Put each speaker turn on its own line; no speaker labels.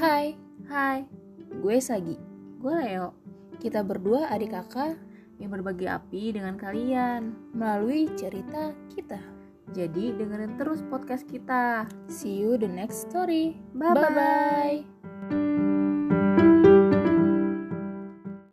Hai,
Hai,
gue Sagi.
gue Leo
Kita berdua adik kakak
yang berbagi api dengan kalian.
melalui cerita kita.
Jadi dengerin terus podcast kita.
See you the next story.
Bye-bye.
Bye-bye.